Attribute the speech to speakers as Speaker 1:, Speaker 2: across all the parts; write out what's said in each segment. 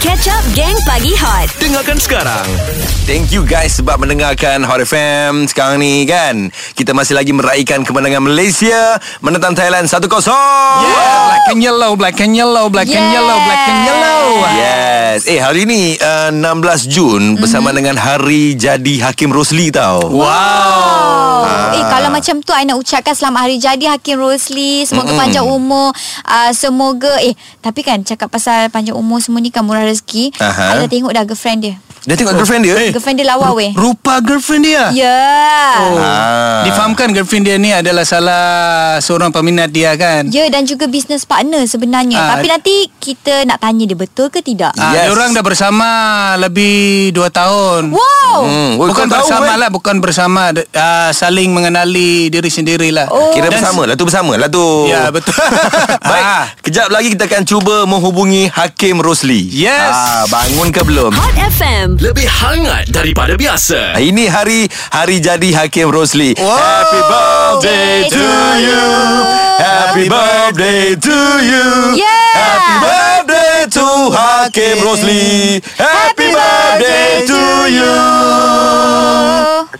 Speaker 1: Catch Up Gang Pagi Hot
Speaker 2: Dengarkan sekarang Thank you guys Sebab mendengarkan Hot FM Sekarang ni kan Kita masih lagi meraihkan Kemenangan Malaysia Menentang Thailand 1-0 yeah.
Speaker 3: Black and yellow, black and yellow, black and yellow, black and yellow.
Speaker 2: Yes Eh hari ni uh, 16 Jun Bersama
Speaker 3: Mm-hmm.
Speaker 2: dengan Hari Jadi Hakim Rosli tau
Speaker 4: Oh.
Speaker 2: Ah.
Speaker 4: Eh kalau macam tu I nak ucapkan selamat hari jadi Hakim Rosli. Semoga mm panjang umur. Uh, semoga eh tapi kan cakap pasal panjang umur semua ni kan murah rezeki.
Speaker 2: Aha.
Speaker 4: I dah tengok dah girlfriend dia.
Speaker 2: Dia tengok girlfriend
Speaker 3: Eh.
Speaker 2: dia
Speaker 4: Girlfriend dia lawa weh.
Speaker 3: Rupa girlfriend
Speaker 4: Ya.
Speaker 3: dia.
Speaker 4: Yeah.
Speaker 3: Oh.
Speaker 2: Ah.
Speaker 3: Difahamkan girlfriend dia ni adalah salah seorang peminat dia kan.
Speaker 4: Ya dan juga business partner sebenarnya.
Speaker 3: Ah.
Speaker 4: Tapi nanti kita nak tanya dia betul ke tidak.
Speaker 3: Ah,
Speaker 2: Yes.
Speaker 3: yes. Diorang dah bersama lebih 2 tahun.
Speaker 4: Wow.
Speaker 2: Hmm, weh,
Speaker 3: Bukan
Speaker 2: kau tahu,
Speaker 3: bersama
Speaker 2: weh.
Speaker 3: lah, bukan bersama. D- ah, saling mengenali diri sendirilah.
Speaker 4: Oh.
Speaker 2: Kira
Speaker 3: Dan-
Speaker 2: bersama lah tu bersama lah tu
Speaker 3: Ya, betul.
Speaker 2: Baik
Speaker 3: Ah.
Speaker 2: Kejap lagi kita akan cuba Menghubungi Hakim Rosli
Speaker 3: Yes.
Speaker 2: ah, Bangun ke belum?
Speaker 1: Hot FM
Speaker 5: Lebih hangat daripada biasa.
Speaker 2: Ah, Ini hari Hari jadi Hakim Rosli
Speaker 3: Wow.
Speaker 2: Happy birthday
Speaker 4: Day
Speaker 2: to you Happy birthday to you
Speaker 4: Yeah.
Speaker 2: Happy birthday to Hakim Rosli Happy birthday to you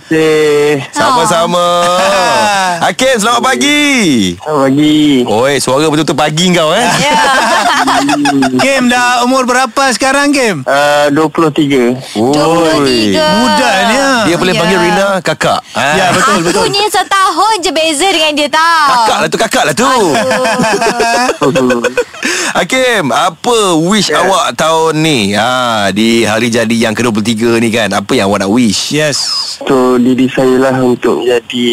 Speaker 6: Terima kasih.
Speaker 2: Sama-sama Hakim selamat pagi
Speaker 6: Selamat pagi.
Speaker 2: Oi suara betul-betul pagi kau eh
Speaker 3: Game dah umur berapa sekarang game?
Speaker 6: Uh, 23.
Speaker 2: Oi.
Speaker 4: 23.
Speaker 3: Mudanya.
Speaker 2: Dia boleh
Speaker 4: Ya.
Speaker 2: panggil Rina kakak Ah.
Speaker 3: Ya, betul, betul.
Speaker 4: Aku ni setahun je beza dengan dia tau.
Speaker 2: Kakak lah tu kakak lah tu Hakim Apa wish yeah. awak tahun ni ha, Di hari jadi yang ke-23 ni kan Apa yang awak nak wish
Speaker 3: Yes.
Speaker 6: So, diri saya lah untuk jadi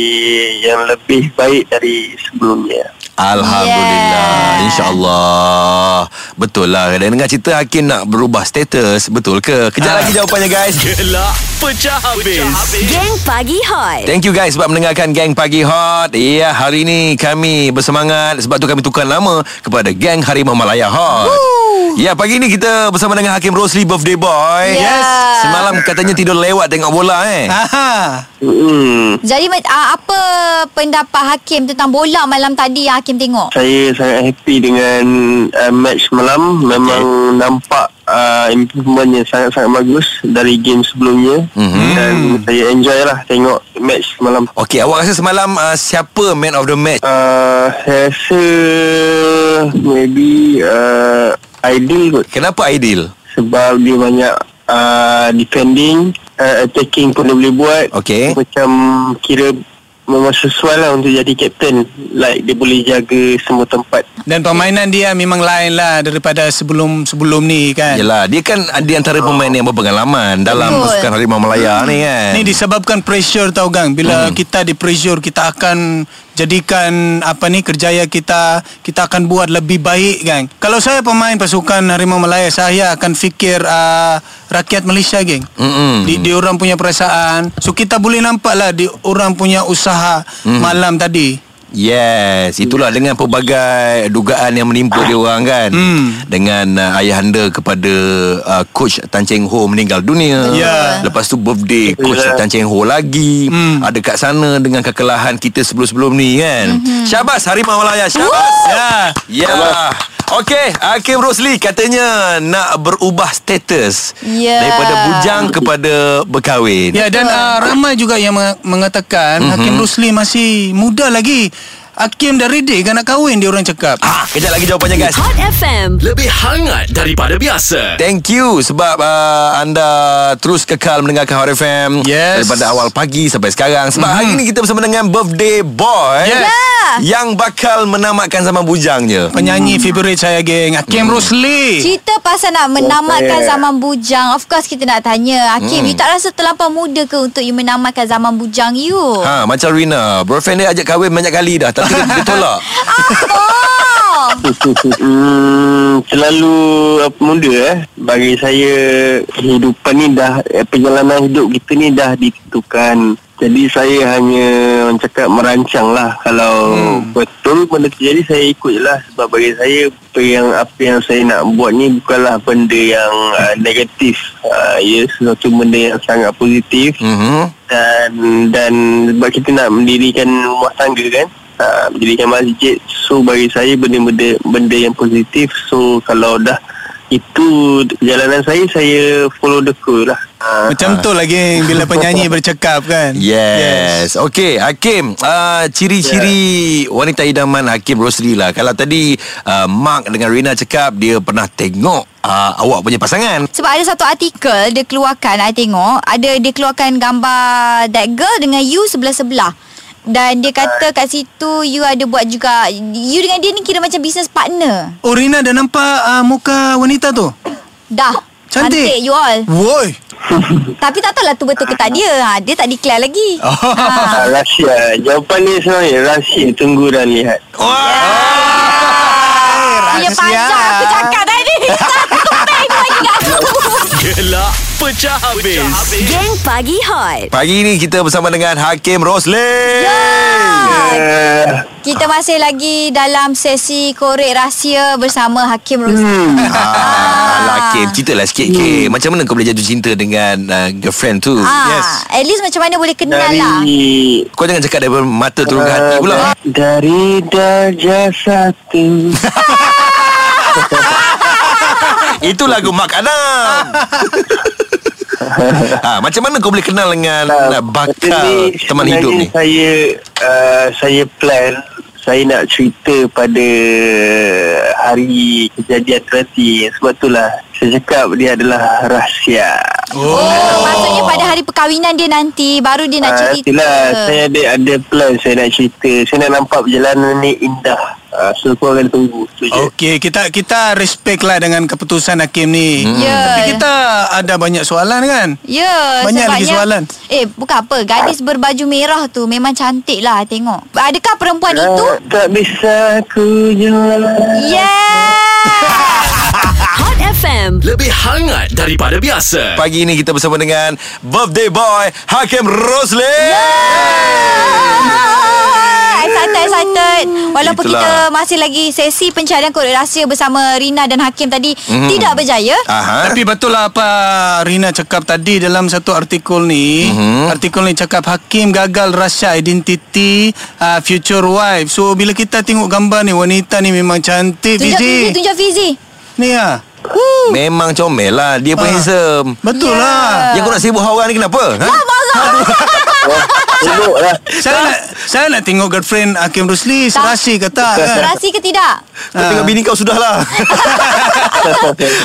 Speaker 6: yang lebih baik dari sebelumnya.
Speaker 2: Alhamdulillah yeah.
Speaker 4: Yeah.
Speaker 2: InsyaAllah Betul lah Dan dengan cerita Hakim nak berubah status Betul ke Kejap lagi jawapannya guys
Speaker 5: Gelak pecah habis.
Speaker 1: Gang Pagi Hot
Speaker 2: Thank you guys sebab mendengarkan Gang Pagi Hot. Ya, hari ini kami bersemangat sebab tu kami tukar nama kepada Gang Harimau Malaya Hot. Ya, pagi ni kita bersama dengan Hakim Rosli Birthday Boy.
Speaker 4: Ya. Yes.
Speaker 2: Semalam katanya tidur lewat tengok bola eh.
Speaker 3: Aha.
Speaker 6: Hmm.
Speaker 4: Jadi uh, apa pendapat hakim tentang bola malam tadi yang hakim
Speaker 2: Eh.
Speaker 4: tengok?
Speaker 6: Saya sangat happy dengan uh, match malam. Memang nampak uh, improvement yang sangat-sangat bagus dari game sebelumnya. Mm-hmm. Dan saya enjoy lah tengok match malam.
Speaker 2: Okey, awak rasa semalam uh, siapa man of the match?
Speaker 6: Uh, saya rasa maybe uh, ideal kot.
Speaker 2: Kenapa Aidil?
Speaker 6: sebab dia banyak uh, defending uh, attacking pun dia boleh buat
Speaker 2: Okey.
Speaker 6: macam kira memang sesuai lah untuk jadi captain like dia boleh jaga semua tempat
Speaker 3: Dan permainan dia memang lain lah daripada sebelum-sebelum ni kan.
Speaker 2: Yelah, dia kan di antara pemain yang berpengalaman dalam
Speaker 4: Betul.
Speaker 2: pasukan Harimau Malaya ni kan.
Speaker 3: Ni disebabkan pressure tau gang Bila hmm. kita di pressure Kita akan jadikan apa ni kerjaya kita Kita akan buat lebih baik gang Kalau saya pemain pasukan Harimau Malaya Saya akan fikir uh, rakyat Malaysia gang
Speaker 2: Mm-mm.
Speaker 3: di, di orang punya perasaan So kita boleh nampak lah Di orang punya usaha malam tadi
Speaker 2: Yes, itulah dengan pelbagai dugaan yang menimpa dia orang kan. Hmm. Dengan uh, ayahanda kepada uh, coach Tan Cheng Ho meninggal dunia.
Speaker 3: Ya.
Speaker 2: Lepas tu birthday coach
Speaker 6: Ya.
Speaker 2: Tan Cheng Ho lagi. Hmm. Ada kat sana dengan kekelahan kita sebelum-sebelum ni kan. Hmm. Syabas Harimau Malaya. Syabas.
Speaker 3: Ya
Speaker 2: Ya. Yeah. Okey, Hakim Rosli katanya nak berubah status
Speaker 4: Ya.
Speaker 2: daripada bujang kepada berkahwin.
Speaker 3: Ya dan uh, ramai juga yang meng- mengatakan Hakim Rusli masih muda lagi Hakim dah ready kan nak kahwin dia orang cakap
Speaker 2: Ah, kejap lagi jawapannya guys.
Speaker 1: Hot FM
Speaker 5: Lebih hangat daripada biasa.
Speaker 2: Thank you sebab uh, anda terus kekal mendengarkan Hot FM
Speaker 3: Yes.
Speaker 2: daripada awal pagi sampai sekarang. Sebab mm-hmm. hari ini kita bersama dengan birthday boy
Speaker 3: Yes.
Speaker 2: yang bakal menamatkan zaman bujangnya.
Speaker 3: Penyanyi favorite saya geng Hakim
Speaker 2: Mm.
Speaker 3: Rosli
Speaker 4: Cerita pasal nak menamatkan zaman bujang Of course kita nak tanya
Speaker 2: Hmm.
Speaker 4: Hakim You tak rasa terlampau muda ke Untuk you menamatkan zaman bujang you?
Speaker 2: Ha, macam Rina, boyfriend dia ajak kahwin banyak kali dah tapi dia, dia tolak.
Speaker 4: Oh
Speaker 6: hmm, selalu apa, muda eh bagi saya kehidupan ni dah eh, perjalanan hidup kita ni dah ditentukan jadi saya hanya orang cakap merancang lah kalau hmm. betul benda terjadi saya ikut je lah sebab bagi saya apa yang apa yang saya nak buat ni bukanlah benda yang uh, negatif uh, ya sesuatu benda yang sangat positif
Speaker 2: Mhm.
Speaker 6: dan dan sebab kita nak mendirikan rumah tangga kan uh, mendirikan masjid so bagi saya benda-benda benda yang positif so kalau dah itu perjalanan saya saya follow the flow lah. Ah,
Speaker 3: Macam tu lagi bila penyanyi bercakap kan.
Speaker 2: Yes. yes. Okey, Hakim, uh, ciri-ciri yeah. wanita idaman Hakim Rosli lah. Kalau tadi uh, Mark dengan Rina cakap dia pernah tengok uh, awak punya pasangan.
Speaker 4: Sebab ada satu artikel dia keluarkan I tengok ada dia keluarkan gambar that girl dengan you sebelah-sebelah. Dan dia kata kat situ you ada buat juga you dengan dia ni kira macam business partner.
Speaker 3: Oh Rina dah nampak uh, muka wanita tu?
Speaker 4: Dah.
Speaker 3: Cantik.
Speaker 4: Cantik you all.
Speaker 3: Woi.
Speaker 4: Tapi tak tahulah tu betul ke tak dia. Ha, dia tak declare lagi. Oh.
Speaker 6: Ah, rahsia. Jawapan dia sebenarnya rahsia tunggu dan lihat.
Speaker 4: Punya Ha,
Speaker 3: rahsia.
Speaker 4: panjang aku cakap tadi. Tengok lagi kat aku.
Speaker 5: Gelak pecah habis.
Speaker 1: Gang Pagi Hot.
Speaker 2: Pagi ni kita bersama dengan Hakim Rosli.
Speaker 4: Ya.
Speaker 6: Uh,
Speaker 4: Ha, Kita masih lagi dalam sesi korek rahsia bersama Hakim Rosli.
Speaker 2: Ah, lah Kim, ceritalah
Speaker 3: Hmm.
Speaker 2: sikit Kim. Macam mana kau boleh jatuh cinta dengan uh, girlfriend tu?
Speaker 4: Ah, yes. At least macam mana boleh kenal lah.
Speaker 6: dari
Speaker 2: Kau jangan cakap daripada mata turun ke hati pula.
Speaker 6: Ah, Dari darjah satu
Speaker 2: Itu lagu Mark Adam. ha, macam mana kau boleh kenal dengan uh,
Speaker 6: Benda
Speaker 2: bakal teman
Speaker 6: sebenarnya
Speaker 2: hidup ni?
Speaker 6: Saya uh, saya plan saya nak cerita pada hari kejadian nanti. Sebab itulah saya cakap dia adalah rahsia.
Speaker 4: Oh. Maksudnya pada hari perkahwinan dia nanti baru dia nak
Speaker 6: Ah,
Speaker 4: cerita.
Speaker 6: itulah, saya ada ada plan saya nak cerita. Saya nak nampak perjalanan ni indah. Uh, so kau akan tunggu. So, je.
Speaker 2: Oh.
Speaker 3: Okey, kita kita respect lah dengan keputusan hakim ni.
Speaker 4: Ya.
Speaker 3: Tapi kita ada banyak soalan kan?
Speaker 4: Ya
Speaker 3: Banyak lagi soalan.
Speaker 4: Eh bukan apa Gadis berbaju merah tu Memang cantik lah Tengok Adakah perempuan itu
Speaker 6: Tak, Ah, tak bisa ku jual.
Speaker 4: Yeah
Speaker 1: Hot FM.
Speaker 5: Lebih hangat daripada biasa.
Speaker 2: Pagi ni kita bersama dengan Birthday Boy Hakim Rosli.
Speaker 4: Ah, Excited excited Walaupun
Speaker 2: Itulah.
Speaker 4: Itulah. kita Masih lagi sesi Pencarian korek rahsia Bersama Rina dan Hakim tadi mm-hmm. Tidak berjaya
Speaker 2: Aha.
Speaker 3: Tapi betul lah apa Rina cakap tadi dalam satu artikel ni. Mm-hmm. Artikel ni cakap hakim gagal rahsia identiti uh, future wife. So bila kita tengok gambar ni wanita ni memang cantik
Speaker 4: Tunjuk Fizi
Speaker 3: Fizi.
Speaker 4: Tunjuk Fizi
Speaker 3: Ni ah.
Speaker 2: Memang comel lah. Dia pun
Speaker 3: Ah.
Speaker 2: handsome. Ah,
Speaker 3: Betul
Speaker 4: Ya.
Speaker 3: lah.
Speaker 2: Yang kau nak sibuk orang ni kenapa? Ha?
Speaker 4: Ah,
Speaker 6: Tengok lah.
Speaker 3: Saya nak, saya nak tengok girlfriend Hakim Rusli
Speaker 4: Tak.
Speaker 3: serasi ke tak kan?
Speaker 4: Rahsia ke tidak
Speaker 2: Kau
Speaker 3: Ah.
Speaker 2: tengok bini kau sudahlah.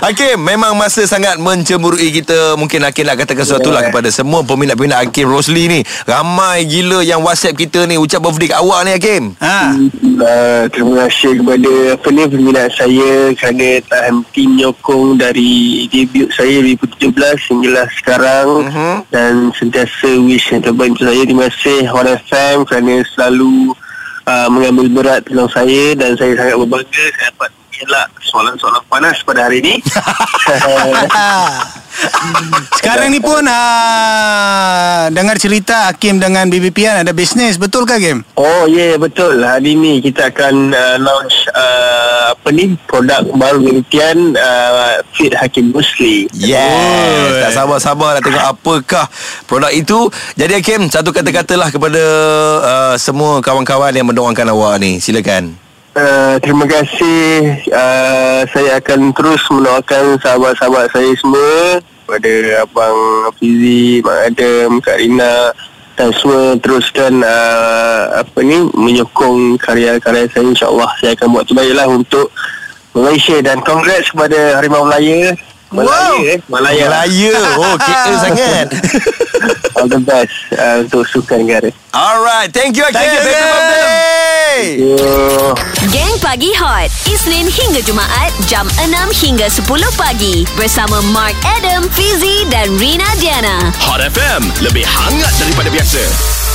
Speaker 2: Hakim, memang masa sangat mencemburui kita. Mungkin Hakim nak katakan sesuatu lah
Speaker 6: Yeah.
Speaker 2: kepada semua peminat-peminat Hakim Rosli ni. Ramai gila yang WhatsApp kita ni. Ucap birthday kat awak ni, Hakim.
Speaker 3: Ha.
Speaker 6: Uh, terima kasih kepada apa ni peminat saya kerana tak henti menyokong dari debut saya 2017 hinggalah lah sekarang uh-huh. dan sentiasa wish yang terbaik untuk saya. Terima kasih Hot FM kerana selalu uh, mengambil berat tentang saya dan saya sangat berbangga saya dapat mengelak soalan-soalan panas pada hari ini.
Speaker 3: Ha. Sekarang ni pun ah, dengar cerita Hakim dengan Bibi Pian kan, ada bisnes betul ke Hakim?
Speaker 6: Oh ya yeah, betul Hari ni kita akan uh, launch uh, Apa ni Produk baru penelitian uh, Fit Hakim Musli
Speaker 2: Yes Tak sabar-sabar nak tengok apakah produk itu Jadi Hakim Satu kata-katalah kepada uh, Semua kawan-kawan yang mendoakan awak ni Silakan
Speaker 6: Uh, terima kasih uh, Saya akan terus mendoakan sahabat-sahabat saya semua Kepada Abang Fizi, Mak Adam, Kak Rina Dan semua teruskan uh, Apa ni Menyokong karya-karya saya InsyaAllah saya akan buat terbaik lah untuk Malaysia Dan congrats kepada Harimau Melaya Malaya
Speaker 3: Wow.
Speaker 6: eh Malaya
Speaker 3: Ya.
Speaker 2: Melaya Oh kita sangat
Speaker 6: All the best uh, Untuk sukan negara
Speaker 2: Alright Thank you Hakim
Speaker 3: Thank you,
Speaker 2: Happy
Speaker 3: Hakim.
Speaker 2: birthday
Speaker 6: Yo.
Speaker 1: Gang Pagi Hot. Isnin hingga Jumaat jam 6 hingga 10 pagi bersama Mark Adam, Fizi dan Rina Diana.
Speaker 5: Hot FM. Lebih hangat daripada biasa.